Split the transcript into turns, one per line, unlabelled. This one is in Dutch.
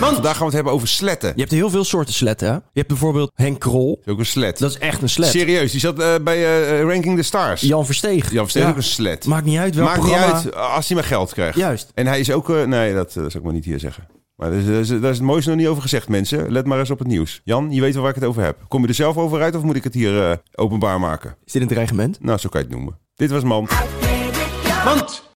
Vandaag gaan we het hebben over sletten.
Je hebt heel veel soorten sletten. Hè? Je hebt bijvoorbeeld Henk Krol.
Ook een slet.
Dat is echt een slet.
Serieus, die zat eh, bij eh, Ranking the Stars.
Jan Versteeg.
Jan Versteeg
Ja.
ook een slet.
Maakt niet uit welk
Maakt niet
programma.
uit eh, als hij maar geld krijgt.
Juist.
En hij is ook... eh, nee, dat, eh, dat zal ik maar niet hier zeggen. Maar daar is, daar is- daar is het mooiste nog niet over gezegd, mensen. Let maar eens op het nieuws. Jan, je weet wel waar ik het over heb. Kom je er zelf over uit of moet ik het hier eh, openbaar maken?
Is dit een dreigement?
Nou, zo kan je het noemen. Dit was Man.
Want